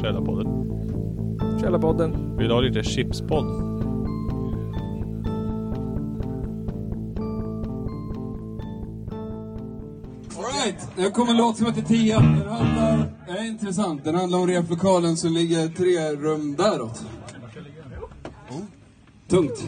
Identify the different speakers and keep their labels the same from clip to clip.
Speaker 1: Källarpodden.
Speaker 2: Källarpodden.
Speaker 1: Vill du ha lite chipspodd?
Speaker 3: Alright, nu kommer en låt som heter Tia. Den handlar, den är intressant, den handlar om replokalen som ligger tre rum däråt. Mm. Tungt.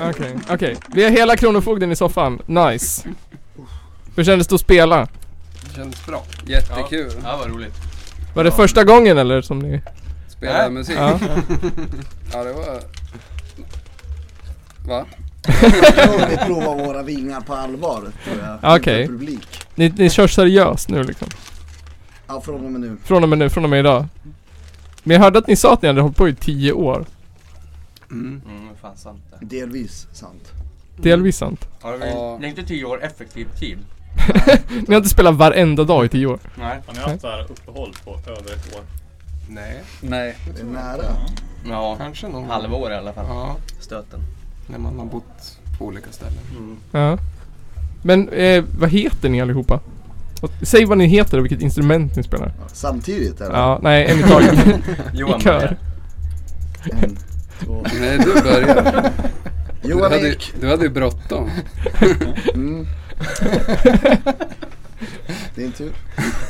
Speaker 2: Okej, okej. Vi har hela Kronofogden i soffan. Nice. Hur kändes det att spela?
Speaker 3: Känns bra. Jättekul.
Speaker 4: Ja, vad roligt.
Speaker 2: Var det första gången eller som ni...
Speaker 3: Spela musik.
Speaker 2: Ja.
Speaker 3: Ja, det var... Va?
Speaker 5: Då vi provar våra vingar på allvar tror jag.
Speaker 2: Okej.
Speaker 5: Inför Publik.
Speaker 2: Ni, ni kör seriöst nu liksom?
Speaker 5: Ja, från och med nu.
Speaker 2: Från och med nu, från och med idag. Men jag hörde att ni sa att ni hade hållit på i tio år.
Speaker 4: Mm, fan sant det.
Speaker 5: Delvis sant.
Speaker 2: Delvis sant.
Speaker 4: Har vi,
Speaker 3: Ja.
Speaker 4: Det är inte tio år effektiv tid.
Speaker 2: Ni har inte spelat varenda dag i tio år.
Speaker 4: Nej.
Speaker 1: Har ni haft så här uppehåll på över ett år?
Speaker 6: Nej,
Speaker 3: Nej.
Speaker 5: Det är nära.
Speaker 4: Ja,
Speaker 6: kanske någon
Speaker 4: halvår i alla fall.
Speaker 6: Ja,
Speaker 4: Stöten.
Speaker 6: när man har bott på olika ställen.
Speaker 2: Ja. Men eh, vad heter ni allihopa? Och, säg vad ni heter och vilket instrument ni spelar.
Speaker 5: Samtidigt eller?
Speaker 2: Ja, nej, en i taget.
Speaker 4: Johan
Speaker 2: I kör.
Speaker 4: börjar.
Speaker 5: En, två.
Speaker 6: Nej, du börjar. Du
Speaker 5: Johan
Speaker 6: hade, ju-
Speaker 5: Ek.
Speaker 6: du hade ju bråttom.
Speaker 5: Mm. Din tur.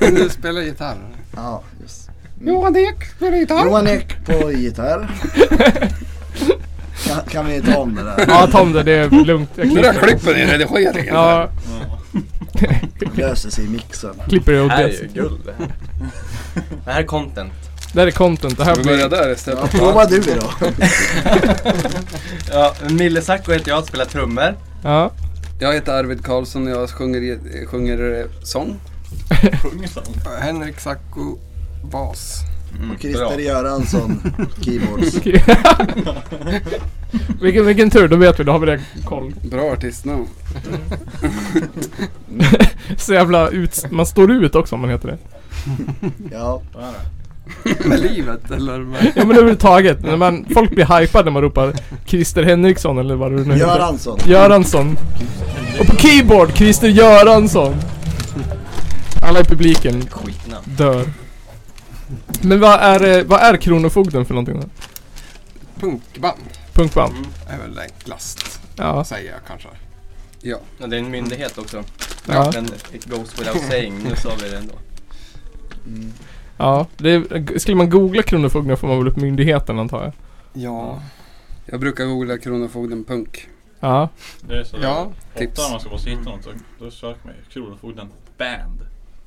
Speaker 6: Du spelar gitarr.
Speaker 5: Ja, just. Mm.
Speaker 6: Johan Ek spelar gitarr.
Speaker 5: Johan Ek på gitarr. Kan, kan vi ta om det där?
Speaker 2: Ja, Tom det, det är lugnt. Jag
Speaker 6: Nu
Speaker 2: klipper.
Speaker 6: klipper ni redigeringen.
Speaker 2: Ja,
Speaker 5: Löser sig i mixen.
Speaker 2: klipper det åt
Speaker 4: Det här är
Speaker 2: det.
Speaker 4: ju guld det här. Det här är content.
Speaker 2: Det här är content. Det här
Speaker 6: Vi börjar
Speaker 2: blir...
Speaker 6: där istället.
Speaker 5: Ja, prova du då.
Speaker 4: Ja, Mille Sacco heter jag, spelar trummor.
Speaker 2: Ja.
Speaker 6: Jag heter Arvid Karlsson och jag sjunger, sjunger eh, sång.
Speaker 1: Sjunger sång.
Speaker 6: Henrik Sacco, bas.
Speaker 4: Mm,
Speaker 5: Christer Göransson, keyboards.
Speaker 2: Vilken, vilken tur, då vet vi. Då har vi det koll.
Speaker 6: Bra artistnamn.
Speaker 2: Så jävla ut... Man står ut också om man heter det.
Speaker 5: Ja,
Speaker 1: Vad är det?
Speaker 6: Med livet eller? Med...
Speaker 2: Ja men överhuvudtaget, när man, folk blir hypade när man ropar Christer Henriksson eller vad det nu heter.
Speaker 5: Göransson.
Speaker 2: Göransson. Och på keyboard, Christer Göransson. Alla i publiken
Speaker 4: Skitnamn.
Speaker 2: dör. Men vad är, eh, vad är Kronofogden för någonting då?
Speaker 6: Punkband
Speaker 2: Punkband?
Speaker 6: är väl enklast,
Speaker 2: Ja.
Speaker 6: säger jag kanske.
Speaker 4: Ja, det är en myndighet också.
Speaker 2: Ja.
Speaker 4: Men it goes without saying, nu sa vi det ändå.
Speaker 2: ja. Det är, skulle man googla Kronofogden får man väl upp myndigheten antar jag.
Speaker 6: Ja. Jag brukar googla Kronofogden punk.
Speaker 2: Ja.
Speaker 1: Det är så
Speaker 6: Ja, tips.
Speaker 1: ofta när man ska måste hitta något så då söker man ju Kronofogden Band.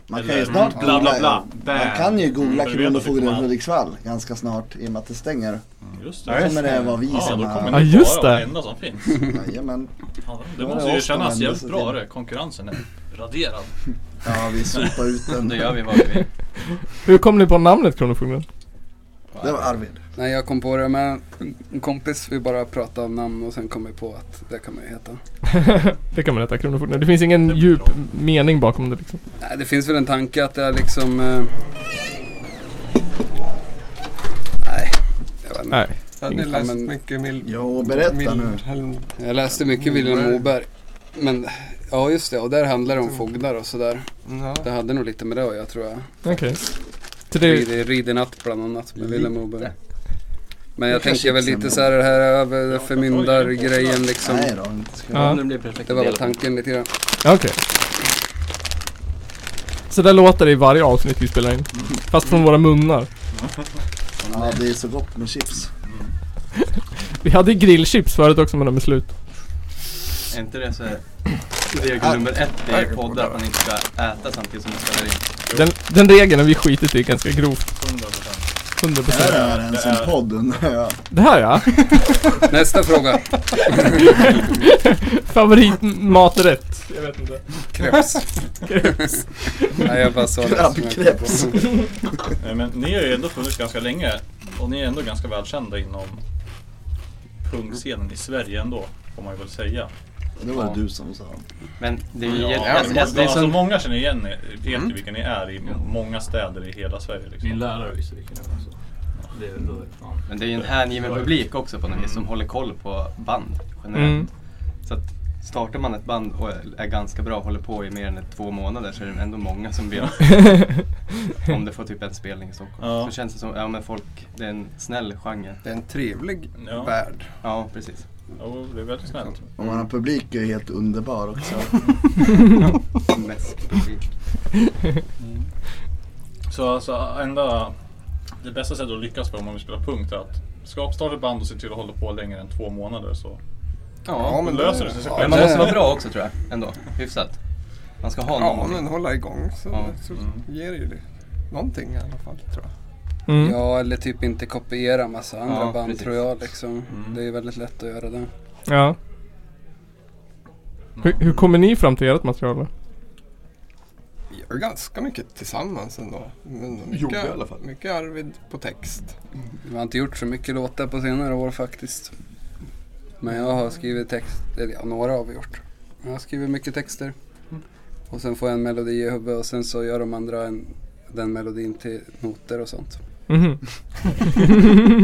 Speaker 5: Man kan ju snart
Speaker 1: bla bla bla.
Speaker 5: googla.
Speaker 1: Band.
Speaker 5: Man kan ju googla
Speaker 1: Mm, du vet att det kommer
Speaker 5: Kronofogden
Speaker 1: an-
Speaker 5: Hudiksvall ganska snart i och med att det stänger.
Speaker 1: Just
Speaker 5: Då
Speaker 1: det.
Speaker 5: kommer det vara vi
Speaker 1: Ja,
Speaker 5: som
Speaker 1: då
Speaker 5: har...
Speaker 1: kommer
Speaker 2: Ja,
Speaker 1: ni
Speaker 2: just
Speaker 1: vara
Speaker 2: det.
Speaker 1: det enda som finns.
Speaker 5: Jajamän.
Speaker 1: Ja,
Speaker 5: Då
Speaker 1: Det
Speaker 5: är
Speaker 1: måste
Speaker 5: det
Speaker 1: ju
Speaker 5: oss som
Speaker 1: kännas
Speaker 5: vänder
Speaker 1: jävligt
Speaker 5: sig
Speaker 1: bra
Speaker 5: till.
Speaker 1: det. Konkurrensen är raderad.
Speaker 5: Ja, vi sopar ut den.
Speaker 4: Då gör vi vad vi vill.
Speaker 2: Hur kom ni på namnet Kronofogden?
Speaker 5: Det var Arvid.
Speaker 6: Nej, jag kom på det med en kompis. Vi bara pratade om namn och sen kom vi på att det kan man ju heta.
Speaker 2: det kan man heta Kronofogden. Det finns ingen
Speaker 1: Det är
Speaker 2: djup
Speaker 1: bra.
Speaker 2: mening bakom det liksom.
Speaker 6: Nej, det finns väl en tanke att det är liksom... Eh... Nej, jag vet inte.
Speaker 2: Nej.
Speaker 7: Ja, ni
Speaker 2: Ingen
Speaker 7: läst
Speaker 6: men-
Speaker 7: mycket Mil...
Speaker 5: Jo, berätta nu.
Speaker 7: Wilhelm-
Speaker 6: Jag läste mycket Vilhelm
Speaker 7: Moberg.
Speaker 6: Moberg. Men ja, just det. Och där handlar det om fogdar och sådär.
Speaker 7: Ja.
Speaker 6: Det hade nog lite med det att göra tror jag.
Speaker 2: Okej. Så det,
Speaker 6: Rid- Ridinatt bland annat med Vilhelm Moberg. Men jag
Speaker 5: Det kanske
Speaker 6: tänkte väl
Speaker 5: inte
Speaker 6: lite
Speaker 5: stämmer.
Speaker 6: så här det här över förmyndargrejen liksom.
Speaker 5: Nej då, inte ska
Speaker 2: Ja.
Speaker 4: Om den blir perfekt
Speaker 6: Det var väl
Speaker 4: del.
Speaker 6: tanken lite grann.
Speaker 2: Okej. Så där låter det i varje avsnitt vi spelar in.
Speaker 1: Mm.
Speaker 2: Fast från våra munnar.
Speaker 5: Ja, det är så gott med chips.
Speaker 2: Vi hade ju grillchips förut också men de är slut.
Speaker 4: Är inte det så här, regel nummer ett i poddar att man inte ska äta samtidigt som man spelar in?
Speaker 2: Den, den regeln har vi skitit i ganska grovt.
Speaker 1: 100%.
Speaker 2: 100%.
Speaker 5: Det här är en
Speaker 1: Det
Speaker 5: sån
Speaker 1: är-
Speaker 5: podd undrar jag.
Speaker 2: Det här ja.
Speaker 6: Nästa fråga.
Speaker 2: Favoritmaträtt. Jag vet inte.
Speaker 6: Kreps. Nej jag bara sa det. som jag kom på.
Speaker 5: Krabbkreps.
Speaker 1: Nej, men ni har ju ändå funnits ganska länge och ni är ändå ganska välkända inom pungscenen i Sverige ändå, får man ju väl säga.
Speaker 5: Det var
Speaker 4: Ja.
Speaker 5: det du som sa.
Speaker 4: Men det är ju...
Speaker 1: Ja,
Speaker 4: jag-
Speaker 1: det
Speaker 4: jag-
Speaker 1: måste,
Speaker 4: jag- det är
Speaker 1: alltså, Mm.
Speaker 4: som-
Speaker 1: många känner igen er, vet ju vilka ni är i många städer i hela Sverige.
Speaker 7: Min
Speaker 1: Liksom.
Speaker 7: lärare visste vilken det var. Så. Det är då, ja.
Speaker 4: Men det är ju en hängiven publik också på något vis som håller koll på band
Speaker 2: Mm.
Speaker 4: generellt. Så att startar man ett band och är ganska bra och håller på i mer än två månader så är det ändå många som vet om det får typ en spelning i Stockholm.
Speaker 1: Ja.
Speaker 4: Så känns det som, ja men folk, det är en snäll genre.
Speaker 6: Det är en trevlig
Speaker 1: Ja.
Speaker 6: värld.
Speaker 4: Ja, precis.
Speaker 1: Jo, det är väldigt snällt.
Speaker 5: Och vår publik är helt underbar också.
Speaker 4: Mest publik.
Speaker 1: Så alltså, enda, det bästa sättet att lyckas på om man vill spela punk är att skapa, starta ett band och se till att hålla på längre än två månader. Så.
Speaker 4: Ja, men,
Speaker 1: löser det sig själv.
Speaker 6: ja,
Speaker 4: man
Speaker 6: det-
Speaker 4: måste vara bra också tror jag, ändå. Hyfsat. Man ska ha
Speaker 8: Ja,
Speaker 4: någonting.
Speaker 8: men hålla igång så,
Speaker 4: Ja.
Speaker 8: så ger det ju det. någonting i alla fall tror jag.
Speaker 2: Mm.
Speaker 6: Ja eller typ inte kopiera massa andra
Speaker 4: Ja,
Speaker 6: band
Speaker 4: precis.
Speaker 6: tror jag liksom.
Speaker 5: Mm.
Speaker 6: Det är väldigt lätt att göra det.
Speaker 2: Ja. Hur, hur kommer ni fram till ert material då?
Speaker 8: Vi gör ganska mycket tillsammans ändå. Men mycket,
Speaker 7: Gjorde i alla fall.
Speaker 8: Mycket Arvid på text.
Speaker 6: Vi har inte gjort så mycket låtar på senare år faktiskt. Men jag har skrivit text, eller ja, några har vi gjort. Jag har skrivit mycket texter. Och sen får jag en melodi i huvudet och sen så gör de andra en, den melodin till noter och sånt.
Speaker 2: Mhm.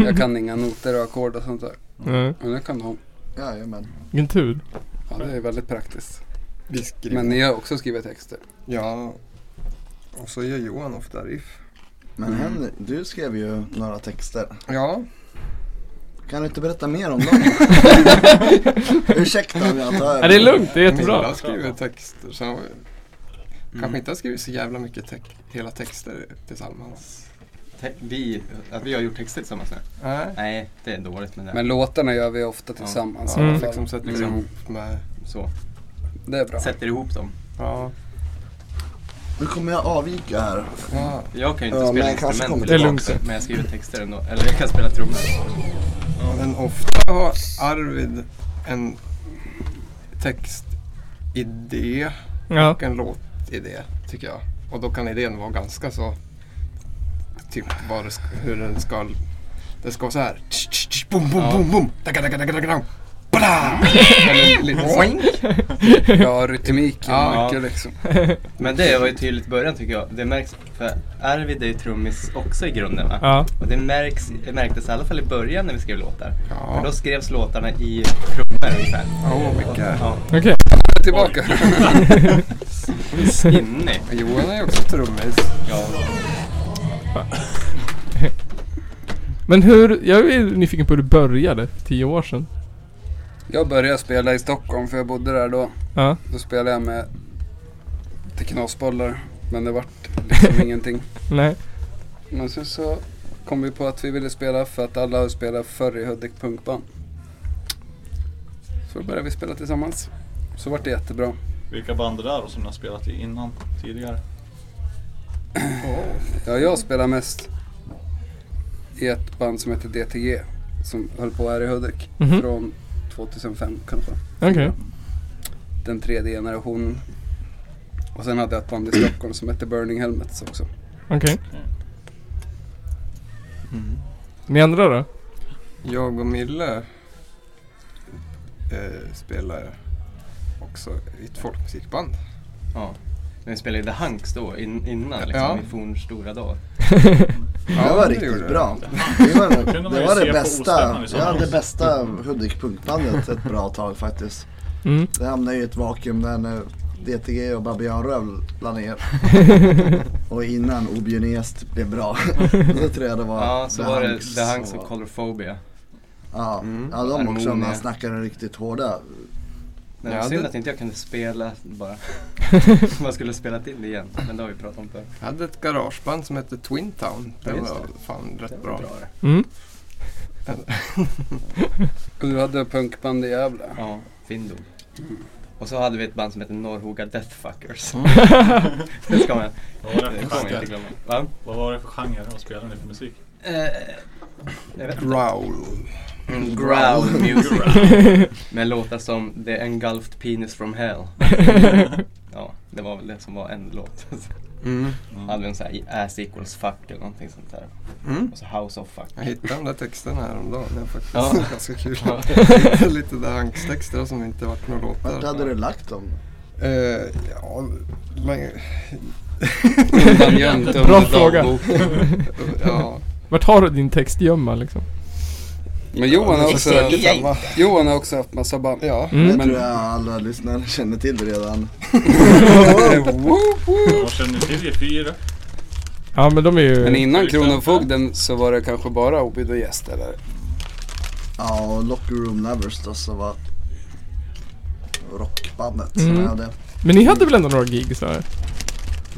Speaker 6: Jag kan inga noter och ackord och sånt där.
Speaker 2: Mm.
Speaker 6: Men det kan de.
Speaker 5: Jajamän.
Speaker 2: Vilken tur.
Speaker 6: Ja, det är väldigt praktiskt.
Speaker 8: Vi skriver.
Speaker 6: Men ni har också skrivit texter.
Speaker 8: Ja. Och så gör Johan ofta riff.
Speaker 5: Men
Speaker 2: Mm.
Speaker 5: Henry, du skrev ju några texter.
Speaker 8: Ja,
Speaker 5: Kan du inte berätta mer om dem? Ursäkta om jag tar över.
Speaker 2: Är det är lugnt, det är jättebra.
Speaker 8: Milla skriver texter. Så vi kanske inte har skrivit så jävla mycket te- hela texter tillsammans.
Speaker 4: Te- vi, att vi har gjort texter tillsammans nu.
Speaker 8: Nej.
Speaker 4: Nej, det är dåligt men det.
Speaker 6: Men låtarna gör vi ofta tillsammans
Speaker 8: Ja,
Speaker 6: i alla
Speaker 2: Mm.
Speaker 6: fall.
Speaker 8: liksom sätter vi
Speaker 6: Mm.
Speaker 8: ihop med...
Speaker 4: Så,
Speaker 6: Det är bra.
Speaker 4: sätter ihop dem.
Speaker 8: Ja.
Speaker 5: Nu kommer jag avvika här.
Speaker 8: ja.
Speaker 4: Jag kan ju inte
Speaker 5: Ja,
Speaker 4: spela
Speaker 5: men jag kanske
Speaker 4: instrument
Speaker 5: kommer
Speaker 2: Det är lugnt.
Speaker 4: också, men jag skriver texter ändå. Eller jag kan spela trummor.
Speaker 8: Men ofta har Arvid en textidé
Speaker 2: Ja.
Speaker 8: och en låtidé tycker jag. Och då kan idén vara ganska så... Typ vad det ska, hur den ska... Det ska vara så här. Tsch, tsch, tsch, Boom, boom, boom, boom. Daga, daga, daga, daga, daga. Bla! Eller lite så.
Speaker 6: Bra rytmik och
Speaker 8: Ja.
Speaker 6: mycket liksom.
Speaker 4: Men det var ju tydligt i början tycker jag. Det märks, för Arvid är ju trummis också i grunden va?
Speaker 2: Ja.
Speaker 4: Och det märks, det märktes i alla fall i början när vi skrev låtar. För då
Speaker 8: Ja.
Speaker 4: skrevs låtarna i trummor ungefär.
Speaker 8: Åh, mycket.
Speaker 4: Ja,
Speaker 2: Okej.
Speaker 6: Tillbaka.
Speaker 4: skinny.
Speaker 8: Johan är också trummis.
Speaker 4: Ja.
Speaker 2: Men hur, jag är nyfiken på hur du började för tio år sedan.
Speaker 6: Jag började spela i Stockholm för jag bodde där då.
Speaker 2: Ja.
Speaker 6: Då spelade jag med lite knasbollar. Men det vart liksom ingenting.
Speaker 2: Nej.
Speaker 6: Men sen så kom vi på att vi ville spela för att alla har spelat förr i Hudik punkband. Så då började vi spela tillsammans. Så vart det jättebra.
Speaker 1: Vilka band är det där och som ni har spelat i innan, tidigare?
Speaker 6: Ja, jag spelar mest i ett band som heter DTG. Som höll på här i Hudik.
Speaker 2: Mhm.
Speaker 6: Från 2005 kan det vara.
Speaker 2: Okej.
Speaker 6: den tredje generationen. Och sen hade jag ett band i Stockholm som hette Burning Helmets också.
Speaker 2: Okej. Ni andra då?
Speaker 8: Jag och Mille eh, spelar också i ett folkmusikband.
Speaker 4: ja. Men vi spelade ju The Hunks då, in, innan liksom,
Speaker 8: Ja.
Speaker 4: i fornstora dagar.
Speaker 5: det var
Speaker 8: det gjorde
Speaker 5: riktigt
Speaker 8: det.
Speaker 5: bra. Det var det,
Speaker 1: kunde man ju
Speaker 5: var
Speaker 1: se
Speaker 5: det
Speaker 1: på
Speaker 5: bästa,
Speaker 1: Ostämman i
Speaker 5: ja,
Speaker 1: somras.
Speaker 5: det bästa Hudik punkbandet ett bra tag faktiskt.
Speaker 2: Mm.
Speaker 5: Det hamnade i ett vakuum där nu. DTG och Babianröv la ner. och innan Obiunest blev bra. Då tror jag det var
Speaker 4: Ja, så
Speaker 5: The
Speaker 4: var
Speaker 5: Hunks
Speaker 4: det The Hunks
Speaker 5: och-
Speaker 4: och Colorphobia.
Speaker 5: Ja,
Speaker 4: Mm.
Speaker 5: ja de också när
Speaker 4: Harmonia.
Speaker 5: han snackade riktigt hårda.
Speaker 4: Men
Speaker 8: Ja,
Speaker 4: synd
Speaker 8: det-
Speaker 4: att inte jag kunde spela bara. Man skulle ha spelat in det igen, men det har vi pratat om förr.
Speaker 8: Jag hade ett garageband som hette Twin Town. Det
Speaker 4: Ja, just
Speaker 8: var fan rätt bra.
Speaker 2: Mm.
Speaker 6: Och du hade punkband i Gävle.
Speaker 4: Ja, Findo. Och så hade vi ett band som hette Norrhoga Deathfuckers. det ska man,
Speaker 1: Vad var det
Speaker 4: Mm.
Speaker 1: för
Speaker 4: det ska man inte
Speaker 1: genre?
Speaker 4: glömma. Va?
Speaker 1: Vad var det för genre? Vad spelade ni för musik?
Speaker 4: Eh, jag vet inte.
Speaker 8: Growl.
Speaker 4: Mm, Growl music. Med låtar som The Engulfed Penis from Hell. ja, det var väl det som var en låt.
Speaker 8: Mm.
Speaker 4: hade vi en sån här Ass equals fuck eller någonting sånt där.
Speaker 8: Mm.
Speaker 4: Och så House of fuck.
Speaker 8: Jag hittade de där texterna häromdagen. Det var faktiskt
Speaker 4: Ja.
Speaker 8: ganska kul. Lite där Hunks-texter som inte varit några
Speaker 5: Vart
Speaker 8: låtar.
Speaker 5: hade du lagt dem?
Speaker 8: Eh, ja, men-
Speaker 6: Undan gömt under
Speaker 2: Bra fråga.
Speaker 6: dagboken.
Speaker 8: ja.
Speaker 2: Vart har du din textgömma liksom?
Speaker 6: Men Johan har, också,
Speaker 8: Exakt samma.
Speaker 6: Johan har också haft massa band.
Speaker 8: Ja.
Speaker 2: Mm.
Speaker 5: Det tror jag alla lyssnare känner till redan.
Speaker 6: Woop, woop.
Speaker 1: Jag känner till E G4.
Speaker 2: Ja men de är ju...
Speaker 6: Men innan Kronofogden så var det kanske bara Obid och Gäst eller?
Speaker 5: Ja, och Locker Room Lovers då som var rockbandet som
Speaker 2: Mm.
Speaker 5: jag hade.
Speaker 2: Men ni hade väl ändå några gig så här?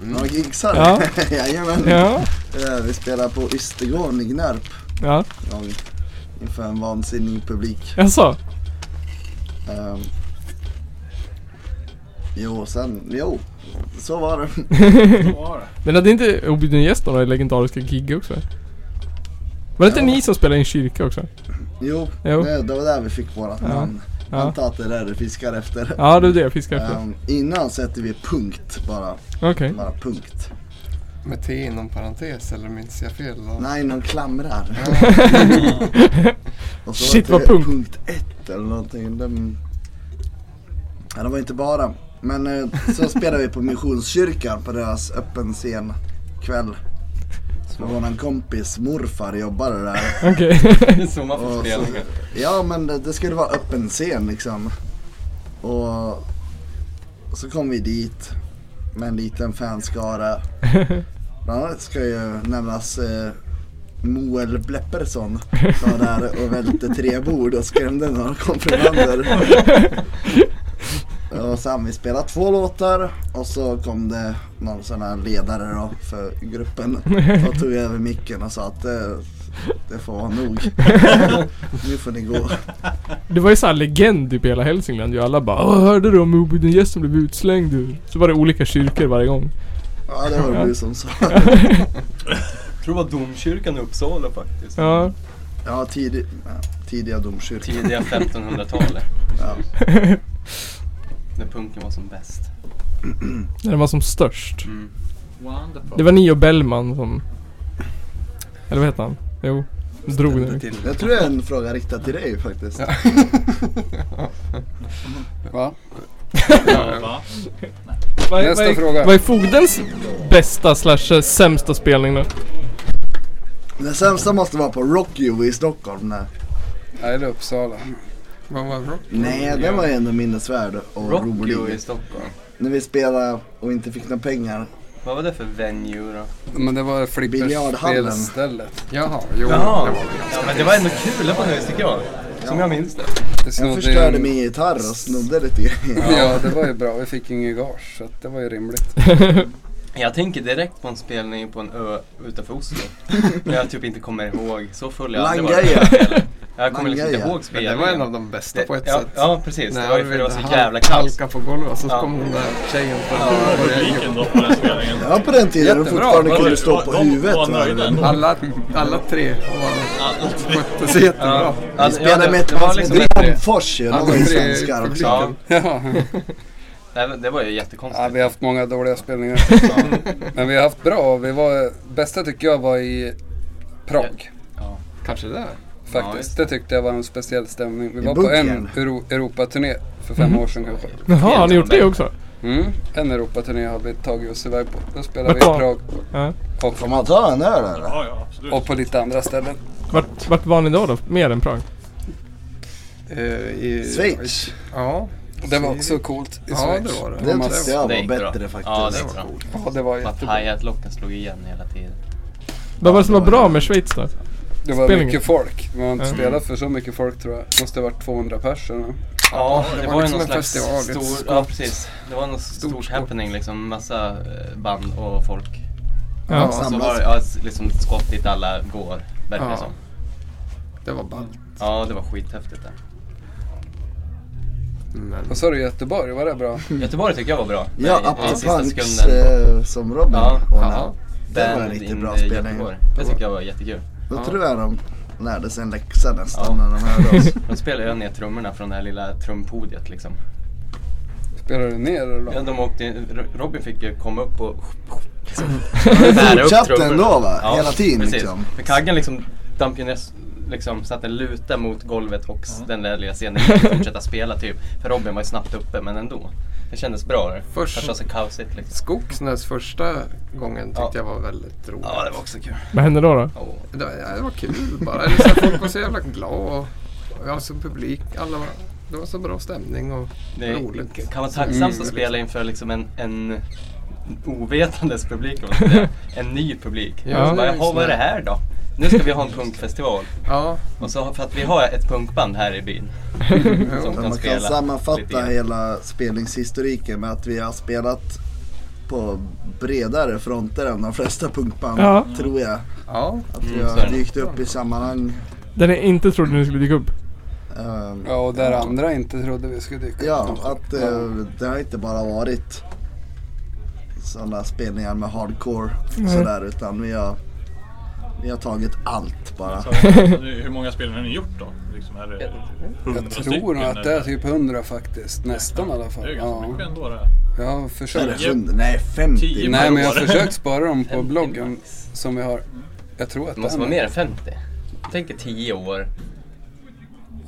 Speaker 5: Några gigsar?
Speaker 2: Ja.
Speaker 5: Jajamän.
Speaker 2: Ja.
Speaker 5: Eh, Vi spelade på Ystergården i Gnarp
Speaker 2: Ja.
Speaker 5: en gång inför en vansinnig publik.
Speaker 2: Jaså?
Speaker 5: Ehm, jo, sen, jo, så var det.
Speaker 1: Vad var det?
Speaker 2: Men hade inte Obidun Gäst några legendariska gig också? Var det inte
Speaker 5: Ja.
Speaker 2: ni som spelade i en kyrka också?
Speaker 5: Jo,
Speaker 2: Jo.
Speaker 5: Det, det var där vi fick vårat
Speaker 2: Ja.
Speaker 5: namn.
Speaker 2: Ja.
Speaker 5: Antar att det är där du fiskar efter.
Speaker 2: Ja det är det jag fiskar efter.
Speaker 5: Ehm, innan sätter vi punkt bara.
Speaker 2: Okej.
Speaker 5: Bara punkt.
Speaker 8: Med T inom parentes eller minns jag fel? Då?
Speaker 5: Nej, någon klamrar. Och så
Speaker 2: Shit,
Speaker 5: var
Speaker 2: vad
Speaker 5: det
Speaker 2: punkt.
Speaker 5: punkt ett eller någonting. De... Ja, det var inte bara. Men eh, så spelade vi på Missionskyrkan på deras öppen scen kväll. Så våran kompis morfar jobbade där.
Speaker 2: Okej.
Speaker 4: Det är så man får
Speaker 5: Och så,
Speaker 4: spelningar.
Speaker 5: ja men det, det skulle vara öppen scen liksom. Och så kom vi dit med en liten fanskara. Bland annat ska ju nämnas eh, Moel Bleppersson som var där och välte tre bord och skrämde några konfirmander. Och sen vi spelade två låtar och så kom det någon sån här ledare då för gruppen och tog över micken och sa att eh, det får vara nog. nu får ni gå.
Speaker 2: Det var ju såhär legend typ i hela Hälsingland ju. Alla bara Åh, hörde du om Obidun Gäst som blev utslängd ur? Så var det olika kyrkor varje gång.
Speaker 5: Ja det var du som sa.
Speaker 4: Jag tror det var domkyrkan i Uppsala faktiskt.
Speaker 2: Ja.
Speaker 5: Ja tidig, ja, tidiga domkyrkan.
Speaker 4: Tidiga 1500-talet,
Speaker 5: Ja.
Speaker 4: när punken var som bäst.
Speaker 2: När den var som störst.
Speaker 4: Mm.
Speaker 1: Wonderful.
Speaker 2: Det var ni och Bellman som... Eller vad heter han? Jo. Drog den.
Speaker 8: till.
Speaker 5: Jag tror det är en fråga riktad till dig faktiskt.
Speaker 8: Ja.
Speaker 6: Va?
Speaker 1: Ja, va?
Speaker 2: Vad är-
Speaker 6: Nästa
Speaker 2: vad är-
Speaker 6: fråga.
Speaker 2: Vad är fogdens bästa slash eh, sämsta spelning då?
Speaker 5: Den sämsta måste vara på Rocky U i Stockholm. Nej,
Speaker 6: Nej det är Uppsala.
Speaker 8: Vad var rock?
Speaker 5: nej den var ju ändå minnesvärd och
Speaker 4: Rockio i
Speaker 5: rolig.
Speaker 4: Stockholm.
Speaker 5: När vi spelade och inte fick några pengar.
Speaker 4: Vad var det för venue då?
Speaker 6: Men det var
Speaker 5: Biljardhallen.
Speaker 6: flipperspelstället.
Speaker 8: Jaha, jo. det var-
Speaker 4: ja, men det var ändå kul, det var nice tycker jag. Som jag minns det.
Speaker 6: Det
Speaker 5: Jag
Speaker 6: snodde
Speaker 5: förstörde
Speaker 6: en-
Speaker 5: min gitarr och snodde lite grejer.
Speaker 6: Ja det var ju bra. Vi fick inget gage så att det var ju rimligt.
Speaker 4: Jag tänker direkt på en spelning på en ö utanför Oslo. Men jag typ inte kommer ihåg, så full jag aldrig varit.
Speaker 5: Langaja.
Speaker 4: Jag kommer liksom inte
Speaker 5: Langaja.
Speaker 4: ihåg
Speaker 8: Men det
Speaker 4: spelningen.
Speaker 8: var en av de bästa på ett
Speaker 4: ja,
Speaker 8: sätt.
Speaker 4: Ja, precis. det var ju för det var
Speaker 8: vi
Speaker 4: så
Speaker 8: hal-
Speaker 4: jävla kallt.
Speaker 8: halkade på golvet och så
Speaker 4: Ja.
Speaker 8: kom den där tjejen på
Speaker 1: Publiken då på den spelningen.
Speaker 5: Ja på den tiden de
Speaker 6: Jättebra.
Speaker 5: fortfarande
Speaker 1: Var-
Speaker 5: kunde stå på
Speaker 1: var-
Speaker 5: huvudet.
Speaker 1: Var
Speaker 5: va?
Speaker 1: nöjda ändå.
Speaker 8: alla, alla tre var- skötte sig jättebra.
Speaker 4: Ja,
Speaker 5: Vi spelade
Speaker 4: Alltså, det-
Speaker 5: med ett
Speaker 4: det var
Speaker 5: band
Speaker 4: liksom
Speaker 5: som
Speaker 4: ett-
Speaker 5: hette Damfors ju. De var ju
Speaker 6: André i
Speaker 5: svenskar också.
Speaker 4: Ja,
Speaker 6: Ja.
Speaker 4: det var- det var ju
Speaker 6: ja
Speaker 4: jättekonstigt.
Speaker 6: vi har haft många dåliga spelningar. Men vi har haft bra. Vi var, bästa tycker jag var i Prag.
Speaker 8: Kanske det.
Speaker 4: Ja, just
Speaker 6: Faktiskt. det tyckte jag var en speciell stämning. Vi
Speaker 5: I
Speaker 6: var på en
Speaker 5: bunkern.
Speaker 6: Euro- Europaturné för
Speaker 4: Mhm.
Speaker 6: fem år sedan kanske.
Speaker 2: Jaha, har ni gjort det också?
Speaker 6: Mm. En Europaturné har vi tagit oss iväg på. Då spelade vi i
Speaker 2: Vart var-
Speaker 6: Prag
Speaker 2: Ja.
Speaker 5: Får man ta en öl eller?
Speaker 1: Ja, ja, absolut.
Speaker 6: och på lite andra ställen.
Speaker 2: Vart, vart var ni då då? Mer än Prag?
Speaker 8: Eh, i-
Speaker 5: Schweiz.
Speaker 8: Ja,
Speaker 6: Det var också coolt i
Speaker 8: Ja,
Speaker 6: Schweiz.
Speaker 8: det var det.
Speaker 6: Det
Speaker 5: Det
Speaker 6: var
Speaker 5: tyckte
Speaker 6: massa,
Speaker 5: jag
Speaker 4: Det
Speaker 5: var
Speaker 4: gick bra.
Speaker 5: bättre faktiskt.
Speaker 4: Ja, det var bra.
Speaker 6: ja, det var
Speaker 4: För att
Speaker 6: jättebra.
Speaker 4: hi-hat-locken slog igen hela tiden.
Speaker 2: Vad var det som var bra med Schweiz då?
Speaker 6: Det var
Speaker 2: Spelningen.
Speaker 6: mycket folk. Man har inte
Speaker 2: Mm.
Speaker 6: spelat för så mycket folk tror jag. Måste ha varit 200 personer.
Speaker 4: Ja, det, var, ju
Speaker 8: liksom
Speaker 4: någon
Speaker 8: en
Speaker 4: slags
Speaker 8: festival, ett
Speaker 4: stor...
Speaker 8: stort-
Speaker 4: Ja, precis. Det var någon stort,
Speaker 8: skåp.
Speaker 4: happening liksom. Massa eh, band och folk.
Speaker 2: Ja.
Speaker 4: Och så
Speaker 5: samlas.
Speaker 4: var det ja, s- liksom ett skott dit alla går, verkar det
Speaker 8: Ja.
Speaker 4: som.
Speaker 8: Det var ballt.
Speaker 4: Ja, det var skithäftigt där.
Speaker 8: Men...
Speaker 6: Vad sa du Göteborg? Var det bra?
Speaker 4: Göteborg tycker jag var bra.
Speaker 5: Ja,
Speaker 4: Men i- i
Speaker 5: Up to
Speaker 4: sista
Speaker 5: Punks
Speaker 4: sekunden-
Speaker 5: eh, som Robin
Speaker 4: Ja,
Speaker 5: ordnade. Det
Speaker 4: Band
Speaker 5: var en riktigt
Speaker 4: in
Speaker 5: bra
Speaker 4: i
Speaker 5: spelning.
Speaker 4: Göteborg. Det tycker jag var jättekul.
Speaker 5: Då tror jag de lärde sig en läxa nästan
Speaker 4: Ja.
Speaker 5: när de hörde oss.
Speaker 4: De spelade ju ner trummorna från det här lilla trumpodiet liksom.
Speaker 6: Spelade du ner eller?
Speaker 4: Ja,
Speaker 6: vad?
Speaker 4: de åkte, Ro- Robin fick ju komma upp och liksom, bära upp
Speaker 5: Fortsatte
Speaker 4: trummorna.
Speaker 5: ändå, va? Hela tiden, liksom.
Speaker 4: För Kaggen liksom damp ju ner, s- liksom så att den lutade mot golvet och s- den där lilla scenen gick att fortsätta spela typ. För Robin var ju snabbt uppe men ändå. Det kändes bra.
Speaker 8: Först-
Speaker 4: Först var så kaosigt liksom.
Speaker 8: Skogsnäs första gången tyckte
Speaker 4: Ja.
Speaker 8: jag var väldigt roligt.
Speaker 4: Ja, det var också kul.
Speaker 2: Vad hände då? då?
Speaker 4: Åh.
Speaker 8: Det var, ja, det var kul bara. Eller så här, folk var så jävla glada och och jag som publik. Alla var, det var så bra stämning och
Speaker 4: Det är-
Speaker 8: roligt.
Speaker 4: kan vara tacksamt att spela inför liksom en, en ovetandes publik, om man ska säga. en ny publik.
Speaker 8: Ja.
Speaker 4: så bara, Jaha, vad är det här då? Nu ska vi ha en punkfestival.
Speaker 8: Ja,
Speaker 4: Och så, för att vi har ett punkband här i byn. som
Speaker 5: Men man kan
Speaker 4: spela lite
Speaker 5: sammanfatta
Speaker 4: grann.
Speaker 5: hela spelningshistoriken med att vi har spelat på bredare fronter än de flesta punkband,
Speaker 2: Ja.
Speaker 5: tror jag.
Speaker 8: ja.
Speaker 5: Att vi
Speaker 4: Mm, så är
Speaker 5: har
Speaker 4: det.
Speaker 5: dykt upp i sammanhang.
Speaker 2: Den jag inte trodde ni skulle dyka upp.
Speaker 5: ehm,
Speaker 6: Ja, och där andra inte trodde vi skulle dyka upp.
Speaker 5: Ja, att eh, det har inte bara varit sådana spelningar med hardcore sådär utan vi har, vi har tagit allt bara.
Speaker 1: Så, alltså, hur många spelningar har ni gjort då? Liksom, är det 100
Speaker 6: Jag
Speaker 1: stycken,
Speaker 6: tror nog att det är
Speaker 1: eller?
Speaker 6: typ 100 faktiskt. Nästan i alla
Speaker 1: Det
Speaker 6: fall.
Speaker 1: är ju ganska
Speaker 6: Ja.
Speaker 1: mycket ändå det.
Speaker 6: Jag har försökt.
Speaker 5: Eller hund- Nej, 50.
Speaker 1: Tio.
Speaker 5: Nej.
Speaker 6: Nej, men jag har
Speaker 1: Varje år.
Speaker 6: försökt spara dem på
Speaker 4: 50
Speaker 6: bloggen
Speaker 4: max.
Speaker 6: som vi har. Jag tror att
Speaker 4: Det måste
Speaker 6: den-
Speaker 4: vara mer än 50. Tänk er 10 år.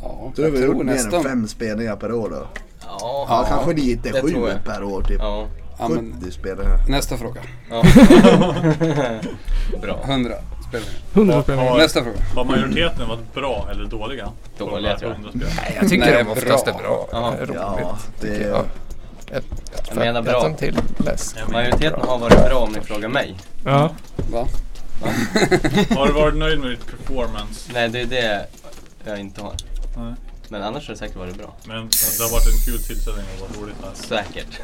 Speaker 6: Ja,
Speaker 5: Tror du
Speaker 6: jag
Speaker 5: vi har
Speaker 6: tror
Speaker 5: gjort mer än
Speaker 6: nästan.
Speaker 5: fem spelningar per år då?
Speaker 4: Ja,
Speaker 5: Ja, kanske lite
Speaker 4: det
Speaker 5: sju
Speaker 4: tror jag.
Speaker 5: per år typ.
Speaker 4: Ja,
Speaker 6: Ja, men
Speaker 5: 70 spelningar.
Speaker 6: nästa fråga.
Speaker 4: ja. Bra.
Speaker 6: 100 spelningar.
Speaker 2: 100 spelningar.
Speaker 1: Ja.
Speaker 6: Nästa fråga.
Speaker 1: Har majoriteten varit bra eller dåliga?
Speaker 4: Dåliga, tror jag.
Speaker 1: jag.
Speaker 8: Jag tycker
Speaker 6: Nej,
Speaker 8: de oftast
Speaker 6: bra.
Speaker 8: är bra.
Speaker 4: Ja.
Speaker 8: Roligt.
Speaker 5: Ja, det
Speaker 8: Ja.
Speaker 5: är...
Speaker 4: Jag menar bra.
Speaker 8: Ettan till bäst.
Speaker 4: Majoriteten har varit bra om ni frågar mig.
Speaker 2: Ja.
Speaker 6: Va?
Speaker 1: Har du varit nöjd med ditt performance?
Speaker 4: Nej, det är det jag inte har.
Speaker 1: Nej.
Speaker 4: Men annars har det säkert varit bra.
Speaker 1: Men det har varit en kul tillställning och varit roligt här.
Speaker 4: Säkert.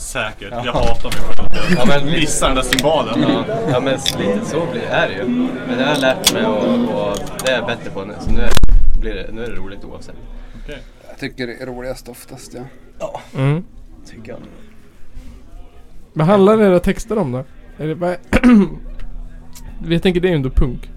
Speaker 1: Säkert.
Speaker 4: Ja.
Speaker 1: Jag hatar mig själv. att
Speaker 4: Ja, men
Speaker 1: Jag
Speaker 4: lite-
Speaker 1: missar den där cymbalen.
Speaker 4: Ja, ja men lite så blir, är det ju. Men det har jag lärt mig och, och det är jag bättre på nu. Så nu är, blir det, nu är det roligt oavsett.
Speaker 1: Okej.
Speaker 6: Jag tycker det är roligast oftast ja.
Speaker 2: Mm.
Speaker 4: Tycker jag.
Speaker 2: Vad handlar era texter om då? Är det bara... Jag tänker det är ju ändå punk.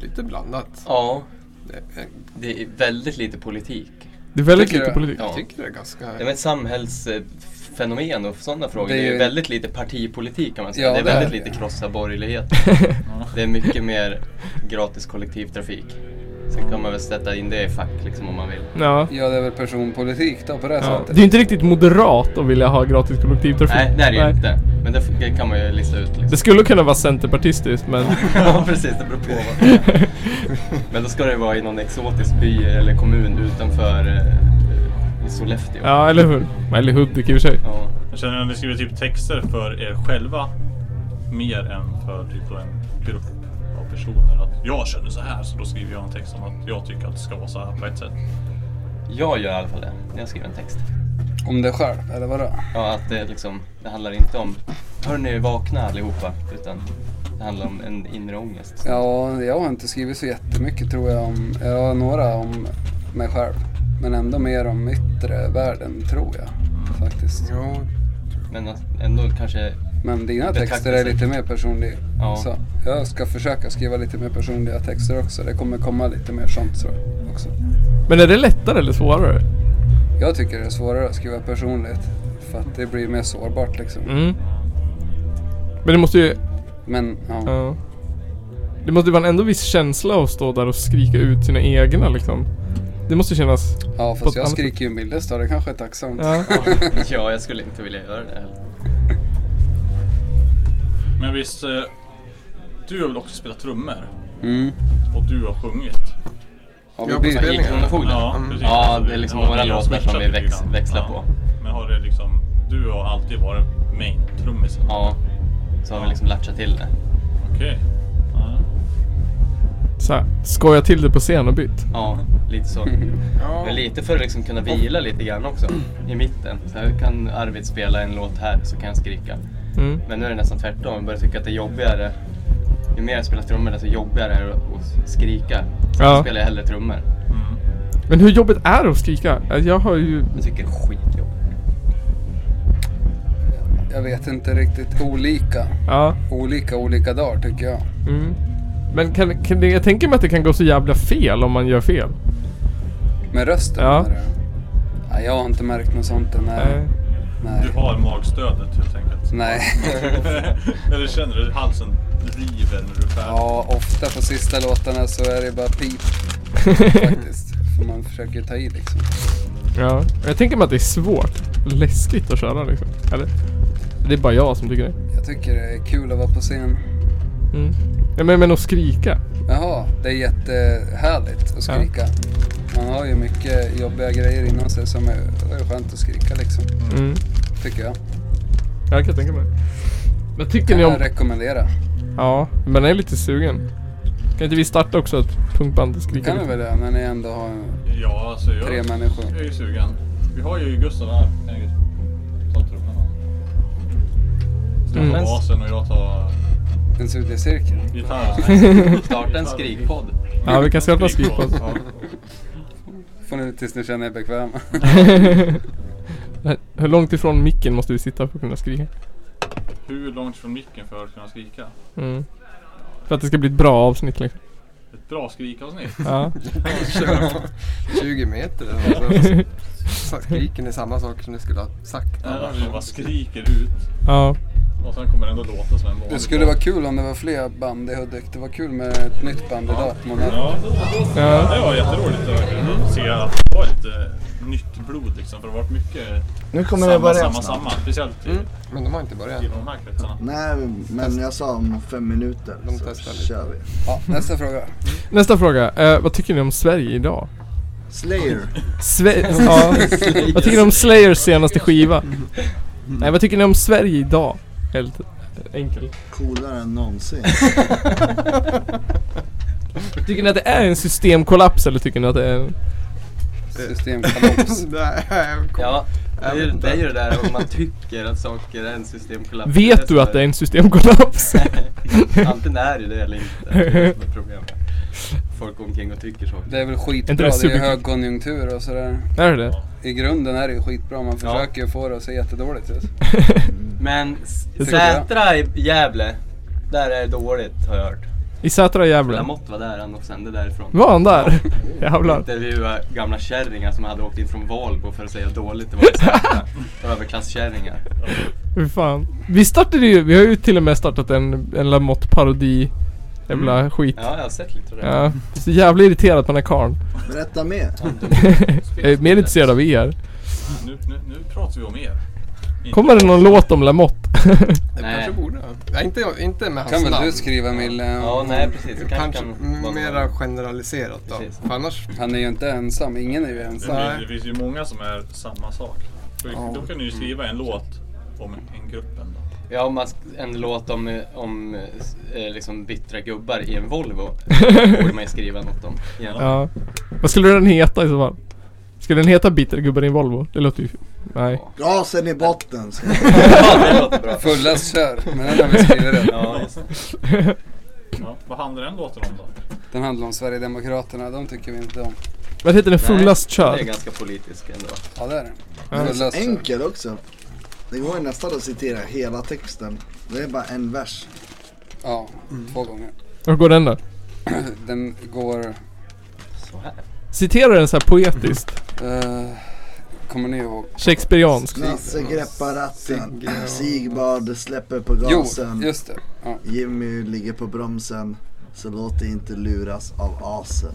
Speaker 8: Lite blandat.
Speaker 4: Ja,
Speaker 8: Det- jag-
Speaker 4: det är väldigt lite politik.
Speaker 2: Det är väldigt
Speaker 6: Tycker
Speaker 2: lite
Speaker 6: du?
Speaker 2: politik.
Speaker 4: Ja.
Speaker 8: Jag tycker det är ganska...
Speaker 4: Det är med samhällsfenomen och sådana frågor.
Speaker 6: Det
Speaker 4: Det
Speaker 6: är
Speaker 4: är,
Speaker 6: ju-
Speaker 4: väldigt lite partipolitik kan man säga.
Speaker 6: Ja,
Speaker 4: det är
Speaker 6: det är
Speaker 4: väldigt
Speaker 6: det.
Speaker 4: lite krossa borgerlighet. Det är mycket mer gratis kollektivtrafik. Sen kan man väl sätta in det i fack liksom om man vill.
Speaker 2: Ja.
Speaker 6: Ja, det är väl personpolitik då på det här
Speaker 2: Ja. Det är
Speaker 6: sättet.
Speaker 2: ju inte riktigt moderat att vilja ha gratis kollektivtrafik.
Speaker 4: Nej, det är det ju inte. Men det, f- det kan man ju lista ut liksom.
Speaker 2: Det skulle kunna vara centerpartistiskt men...
Speaker 4: Ja precis, det beror på vad det är. Men då ska det vara i någon exotisk by eller kommun utanför eh, i Sollefteå.
Speaker 2: Ja, eller hur? Eller Hudik i och för sig.
Speaker 4: Ja.
Speaker 1: Jag känner att ni skriver typ texter för er själva mer än för typ då en grupp av personer. Att jag känner så här så då skriver jag en text om att jag tycker att det ska vara så här på ett sätt.
Speaker 4: Jag gör i alla fall det, när jag skriver en text.
Speaker 6: Om dig själv, eller vadå?
Speaker 4: Ja, att det liksom, det handlar inte om Hörni, vakna allihopa. Utan det handlar om en inre ångest.
Speaker 6: Ja, jag har inte skrivit så jättemycket tror jag om, jag har några om mig själv. Men ändå mer om yttre världen tror jag faktiskt.
Speaker 8: Jo,
Speaker 4: Men att ändå kanske,
Speaker 6: Men dina
Speaker 4: Betraktar
Speaker 6: texter är
Speaker 4: sig.
Speaker 6: lite mer personliga.
Speaker 4: Ja.
Speaker 6: Så jag ska försöka skriva lite mer personliga texter också. Det kommer komma lite mer sånt tror jag också.
Speaker 2: Men är det lättare eller svårare?
Speaker 6: Jag tycker det är svårare att skriva personligt. För att det blir mer sårbart liksom.
Speaker 2: Mm. Men det måste ju...
Speaker 6: Men ja.
Speaker 2: Ja. Det måste ju vara en ändå viss känsla att stå där och skrika ut sina egna liksom. Det måste ju kännas...
Speaker 6: Ja,
Speaker 2: På ett
Speaker 6: fast jag
Speaker 2: annat
Speaker 6: skriker ju mildast då. Det kanske är tacksamt.
Speaker 2: Ja.
Speaker 4: ja jag skulle inte vilja göra det heller.
Speaker 1: Men visst, eh, du har väl också spelat trummor?
Speaker 6: Mm.
Speaker 1: Och du har sjungit?
Speaker 6: Har
Speaker 8: Ja,
Speaker 6: vi
Speaker 8: på
Speaker 6: bil?
Speaker 8: spelningen.
Speaker 4: I Kronofogden?
Speaker 1: Ja,
Speaker 8: Mm.
Speaker 1: precis.
Speaker 4: Ja, det är liksom
Speaker 1: Ja,
Speaker 4: några
Speaker 1: ni har
Speaker 4: låtar som vi
Speaker 1: switchat lite
Speaker 4: väx,
Speaker 1: grann.
Speaker 4: växlar
Speaker 1: Ja.
Speaker 4: på.
Speaker 1: Men har det liksom, du har alltid varit main trummisen?
Speaker 4: Ja, så har vi liksom latchat till det.
Speaker 1: Okej. Ja.
Speaker 2: Så här, skoja till det på scen och bytt.
Speaker 4: Ja, lite så.
Speaker 8: Ja.
Speaker 4: Men lite för att liksom kunna vila lite grann också i mitten. Så här kan Arvid spela en låt här så kan jag skrika.
Speaker 2: Mm.
Speaker 4: Men nu är det nästan tvärtom. Jag börjar tycka att det är jobbigare. Ju mer jag spelar trummor desto jobbigare är det att skrika. Så
Speaker 2: Ja.
Speaker 4: då spelar jag hellre trummor.
Speaker 1: Mm.
Speaker 2: Men hur jobbigt är det att skrika? Jag har ju...
Speaker 4: Jag tycker det är skitjobbigt.
Speaker 6: Jag vet inte riktigt. Olika.
Speaker 2: Ja.
Speaker 6: Olika olika dagar tycker jag.
Speaker 2: Mm. Men kan, kan det, jag tänker mig att det kan gå så jävla fel om man gör fel.
Speaker 6: Med rösten
Speaker 2: Ja.
Speaker 6: menar du? Nej, jag har inte märkt något sånt än. Nej.
Speaker 2: Nej.
Speaker 6: Nej.
Speaker 1: Du har magstödet helt enkelt.
Speaker 6: Nej.
Speaker 1: Eller känner du hur halsen river när du är färdig?
Speaker 6: Ja, ofta på sista låtarna så är det bara pip faktiskt. För man försöker ta i liksom.
Speaker 2: Ja. Och Jag tänker mig att det är svårt. Läskigt att köra liksom. Eller? Det är bara jag som tycker det.
Speaker 6: Jag tycker det är kul att vara på scen.
Speaker 2: Mm. Ja, men, men att skrika.
Speaker 6: Jaha, det är jättehärligt att
Speaker 2: Ja.
Speaker 6: skrika. Man har ju mycket jobbiga grejer inom sig som är, det är skönt att skrika liksom.
Speaker 2: Mm.
Speaker 6: Tycker jag.
Speaker 2: Ja, det kan jag tänka mig. Men tycker
Speaker 6: Kan
Speaker 2: ni om...
Speaker 6: jag rekommendera.
Speaker 2: Ja, men jag är lite sugen. Kan inte vi starta också ett punkband och
Speaker 6: Det
Speaker 2: skrika
Speaker 6: kan vi
Speaker 2: lite?
Speaker 6: väl göra när ni ändå har en-
Speaker 1: Ja, alltså jag,
Speaker 6: tre människor.
Speaker 1: jag är ju sugen. Vi har ju Gustav här. Kan ju Ta trummorna. Du
Speaker 2: Mm.
Speaker 1: tar basen och jag tar
Speaker 6: en studiecirkel.
Speaker 1: gitarren.
Speaker 4: Starta en skrikpodd.
Speaker 2: Ja, vi kan starta skrik på oss.
Speaker 6: Får ni tills ni känner er bekväma.
Speaker 2: Hur långt ifrån micken måste vi sitta för att kunna skrika?
Speaker 1: Hur långt från micken för att kunna skrika?
Speaker 2: Mm. För att det ska bli ett bra avsnitt liksom.
Speaker 1: Ett bra skrikavsnitt.
Speaker 2: Ja.
Speaker 8: Kör 20 meter eller något. Så skriker ni samma saker som ni skulle ha sagt
Speaker 1: Där
Speaker 8: annars.
Speaker 1: vi bara skriker ut.
Speaker 2: ja.
Speaker 1: Och sen kommer det ändå låta som en vanlig
Speaker 6: Det skulle vara kul om det var fler band i Hudik. Det var kul med ett nytt band idag på Monaco.
Speaker 1: Ja,
Speaker 2: Ja.
Speaker 1: det var jätteroligt att
Speaker 6: Mm.
Speaker 1: verkligen se att det var lite nytt blod liksom. För det har varit mycket
Speaker 5: Nu kommer det
Speaker 1: samma,
Speaker 5: börja
Speaker 1: samma,
Speaker 5: snabbt.
Speaker 1: samma. Speciellt i,
Speaker 6: Mm.
Speaker 8: Men de har inte börjat.
Speaker 1: i de här kretsarna.
Speaker 5: Nej, men jag sa om fem minuter
Speaker 8: De
Speaker 5: så
Speaker 8: testar lite.
Speaker 5: kör vi.
Speaker 6: Ja, nästa fråga.
Speaker 2: Nästa fråga. Eh, vad tycker ni om Sverige idag?
Speaker 5: Slayer.
Speaker 2: Sve- ja. Vad tycker ni om Slayers senaste skiva? Nej, vad tycker ni om Sverige idag? Helt enkelt.
Speaker 5: Coolare än någonsin.
Speaker 2: Tycker ni att det är en systemkollaps eller tycker ni att det är...
Speaker 6: Systemkollaps.
Speaker 8: Nej, kom.
Speaker 4: Ja, det är,
Speaker 8: Jag
Speaker 4: ju-
Speaker 8: vet inte.
Speaker 4: det är ju det där om man tycker att saker är en systemkollaps.
Speaker 2: Vet du att det är en systemkollaps?
Speaker 4: Antingen är det det eller inte. Det är det som är problemet. Folk går omkring och tycker saker.
Speaker 6: Det är väl
Speaker 2: Inte
Speaker 6: skitbra.
Speaker 2: det
Speaker 6: Det är ju
Speaker 2: superkul?
Speaker 6: högkonjunktur och sådär.
Speaker 2: är det det?
Speaker 6: I grunden är det ju skitbra. Man
Speaker 4: Ja.
Speaker 6: försöker ju få det att se jättedåligt ut.
Speaker 4: Men s-
Speaker 6: Det tror jag.
Speaker 4: Sätra i Gävle, där är det dåligt har jag hört.
Speaker 2: I Sätra och Gävle?
Speaker 4: Lamotte var där, han och sände därifrån.
Speaker 2: Var han där? Jävlar.
Speaker 4: Intervjua gamla kärringar som hade åkt in från Valbo för att säga hur dåligt det var i Sätra. Överklasskärringar.
Speaker 2: Hur fan. Vi startade ju, vi har ju till och med startat en, en Lamotte-parodi. Jävla skit.
Speaker 4: Mm. Ja, jag har sett lite av det.
Speaker 2: Ja. Så jävla irriterad på den här karln.
Speaker 5: Berätta mer.
Speaker 2: Jag är mer intresserad av er.
Speaker 1: Nu, nu, nu pratar vi om er. Inte-
Speaker 2: Kommer det någon låt om Lamotte?
Speaker 8: Det
Speaker 4: Nej.
Speaker 8: kanske borde. ha. Nej, inte, inte med hans
Speaker 6: Kan väl
Speaker 8: namn.
Speaker 6: du skriva Mille?
Speaker 4: Ja, nej precis. Det kanske
Speaker 8: Kanske
Speaker 4: kan vara
Speaker 8: mera generaliserat då.
Speaker 4: Precis.
Speaker 8: För annars,
Speaker 6: Han är ju inte ensam. Ingen är ju
Speaker 1: Det,
Speaker 6: ensam.
Speaker 1: finns- det finns ju många som är samma sak. Då, då kan du ju skriva en låt om en, en grupp ändå.
Speaker 4: Ja, om man sk- en låt om, eh, om eh, s- eh, liksom bittra gubbar i en Volvo borde man ju skriva något om. Ja.
Speaker 2: Ja. Vad skulle den heta i så fall? Skulle den heta Bittergubbar i en Volvo? Det låter ju... Nej.
Speaker 5: Gasen i botten. Så.
Speaker 4: ja, det låter bra.
Speaker 6: Fullast kör. Men den har vi skrivit redan.
Speaker 4: Ja, just.
Speaker 1: Ja, vad handlar den låten om då?
Speaker 6: Den handlar om Sverigedemokraterna. De tycker vi inte om.
Speaker 2: Vad heter den? Fullast
Speaker 4: Det är
Speaker 2: kör?
Speaker 4: ganska politisk ändå.
Speaker 6: Ja, det är den.
Speaker 2: Ja.
Speaker 6: Fullast kör.
Speaker 5: Enkel också. Det går ju nästan att citera hela texten. Det är bara en vers.
Speaker 6: Ja, två gånger.
Speaker 2: Hur går den då?
Speaker 6: Den går...
Speaker 4: Så här.
Speaker 2: Citerar den så här poetiskt?
Speaker 6: eh, kommer ni ihåg?
Speaker 4: Mm.
Speaker 2: Shakespeareanskt?
Speaker 5: Nasse greppar ratten.
Speaker 8: Sigge-
Speaker 5: Sigbad släpper på
Speaker 6: Jo,
Speaker 5: gasen.
Speaker 6: just det. Ja.
Speaker 5: Jimmy ligger på bromsen. Så låt dig inte luras av asen.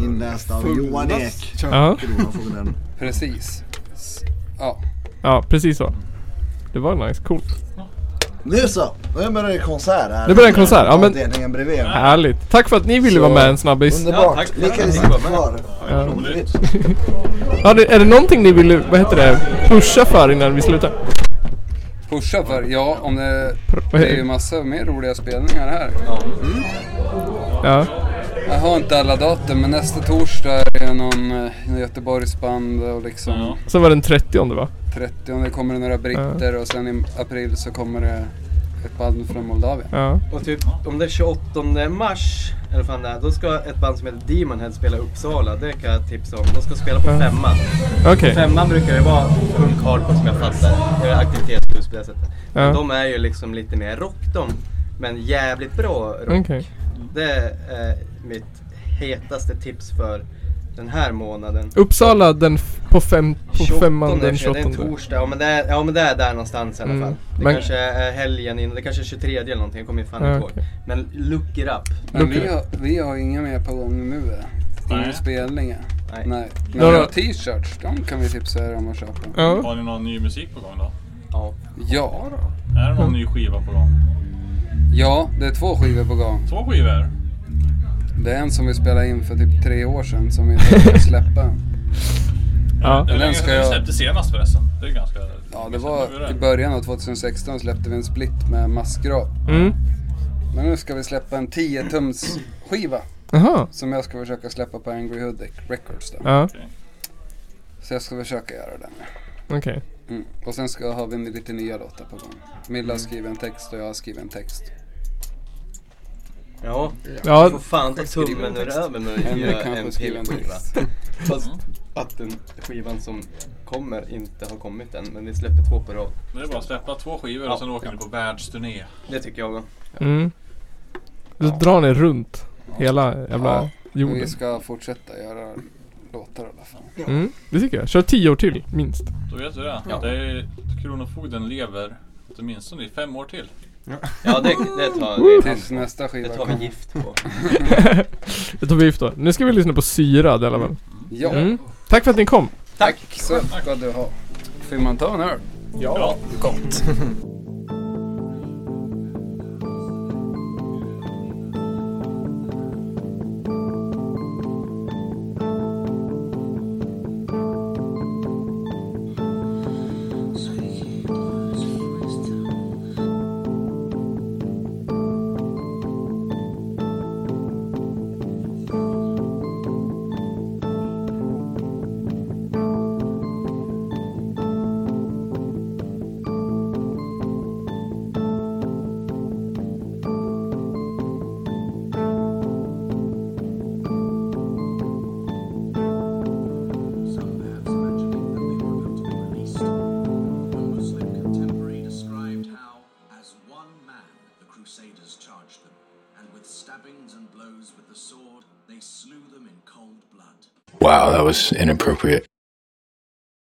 Speaker 5: Inläst av Johan Ek.
Speaker 2: Ja.
Speaker 5: Kronofogden.
Speaker 6: Precis. S- Ja,
Speaker 2: Ja, precis så. Det var nice. Coolt.
Speaker 5: Nu så! Nu börjar det konsert här.
Speaker 2: Nu börjar en konsert, ja, men-
Speaker 5: Avdelningen bredvid.
Speaker 2: Härligt. Tack för att ni ville
Speaker 5: Så,
Speaker 2: vara med en snabbis.
Speaker 4: Ja,
Speaker 5: Underbart.
Speaker 4: tack.
Speaker 5: Vi kan ju
Speaker 4: Tack.
Speaker 5: sitta kvar.
Speaker 2: Ja.
Speaker 1: Roligt.
Speaker 2: Ja, det, är det någonting ni ville, vad heter det, pusha för innan vi slutar?
Speaker 6: Pusha för, ja om det...
Speaker 2: vad heter
Speaker 6: Det är ju
Speaker 2: det?
Speaker 6: massa mer roliga spelningar här.
Speaker 2: Ja.
Speaker 6: Jag har inte alla datum men nästa torsdag är det någon eh, Göteborgsband och liksom...
Speaker 1: Ja.
Speaker 2: Sen var det den 30 va?
Speaker 6: 30 kommer det några britter och sen i april så kommer det ett band från Moldavien.
Speaker 2: Ja.
Speaker 4: Och typ om det är 28 mars, eller vad fan det är, då ska ett band som heter Demonhead spela i Uppsala. Det kan jag tipsa om. De ska spela på
Speaker 2: Ja.
Speaker 4: femman.
Speaker 2: Okej.
Speaker 4: Femman brukar ju vara punk hardcore som jag fattar. Det är aktivitetshus på det sättet.
Speaker 2: Ja.
Speaker 4: Men de är ju liksom lite mer rock de. Men jävligt bra rock.
Speaker 2: Okej.
Speaker 4: Det är eh, mitt hetaste tips för den här månaden.
Speaker 2: Uppsala den f- på, fem, på femman den
Speaker 4: kanske,
Speaker 2: 28.
Speaker 4: Det är en torsdag, ja men det är, ja, men det är där någonstans i alla
Speaker 2: Mm.
Speaker 4: fall. Det
Speaker 2: Men-
Speaker 4: kanske är helgen innan, det kanske är 23 eller någonting, jag kommer ju fan
Speaker 2: Ja,
Speaker 4: inte ihåg.
Speaker 2: okej.
Speaker 4: Men look it up.
Speaker 6: Men vi
Speaker 2: Okej.
Speaker 6: har, vi har inga mer på gång nu. eh. Inga
Speaker 1: Nej.
Speaker 6: spelningar.
Speaker 4: Nej.
Speaker 6: Nej. Men
Speaker 2: Några-
Speaker 6: vi har t-shirts, de kan vi tipsa er om att köpa.
Speaker 2: Ja.
Speaker 1: Har ni någon ny musik på gång då?
Speaker 4: Ja.
Speaker 6: Ja,
Speaker 1: Är det någon ny skiva på gång?
Speaker 6: ja det är två skivor på gång.
Speaker 1: Två skivor?
Speaker 6: Det är en som vi spelade in för typ tre år sedan som vi inte har släppa.
Speaker 2: Ja.
Speaker 1: Det är
Speaker 6: Den
Speaker 1: länge
Speaker 6: ska
Speaker 1: sedan du
Speaker 6: jag-
Speaker 1: släppte senast förresten. Det är ganska...
Speaker 6: Ja, det
Speaker 1: Liksom Nu är det.
Speaker 6: var i början av 2016 släppte vi en split med Maskrav.
Speaker 2: Mm.
Speaker 6: Men nu ska vi släppa en 10-tums skiva
Speaker 2: Jaha.
Speaker 6: som jag ska försöka släppa på Angry Hood Records då.
Speaker 2: Ja.
Speaker 6: Så jag ska försöka göra den.
Speaker 2: Okej.
Speaker 6: Mm. Och sen ska, har vi lite nya låtar på gång. Milla har skrivit en text och jag har skrivit en text.
Speaker 4: Ja,
Speaker 2: Ja.
Speaker 4: får fan ta tummen ur öven och
Speaker 6: Henrik
Speaker 4: göra
Speaker 6: kan
Speaker 4: en
Speaker 6: få skriva en
Speaker 4: pilskiva.
Speaker 6: text.
Speaker 4: Fast att den skivan som kommer inte har kommit än, men vi släpper två på rad.
Speaker 1: Nu är det bara att släppa två skivor och sen åker ni på världsturné.
Speaker 4: Det tycker jag.
Speaker 2: Mm. Då drar ni runt hela
Speaker 6: Ja,
Speaker 2: jävla
Speaker 6: men
Speaker 2: jorden.
Speaker 6: vi ska fortsätta göra låtar i alla fall.
Speaker 2: Mm. Det tycker jag. Kör 10 år till, minst.
Speaker 1: Då vet du det.
Speaker 4: Ja.
Speaker 1: det är, kronofogden lever åtminstone i fem år till.
Speaker 4: Ja, det, det tar vi.
Speaker 6: Tills nästa
Speaker 4: Det
Speaker 6: skiva
Speaker 4: tar vi
Speaker 6: kommer.
Speaker 4: gift på.
Speaker 2: Det tar vi gift då. Nu ska vi lyssna på Syrad i alla fall.
Speaker 6: Ja,
Speaker 2: Mm. Tack för att ni kom.
Speaker 6: tack så ska du ha. Får man ta en öl?
Speaker 1: Ja.
Speaker 9: Some maps mentioning that they were about to be released. One Muslim contemporary described how, as one man, the Crusaders charged them, and with stabbings and blows with the sword, they slew them in cold blood.
Speaker 10: Wow, that was inappropriate.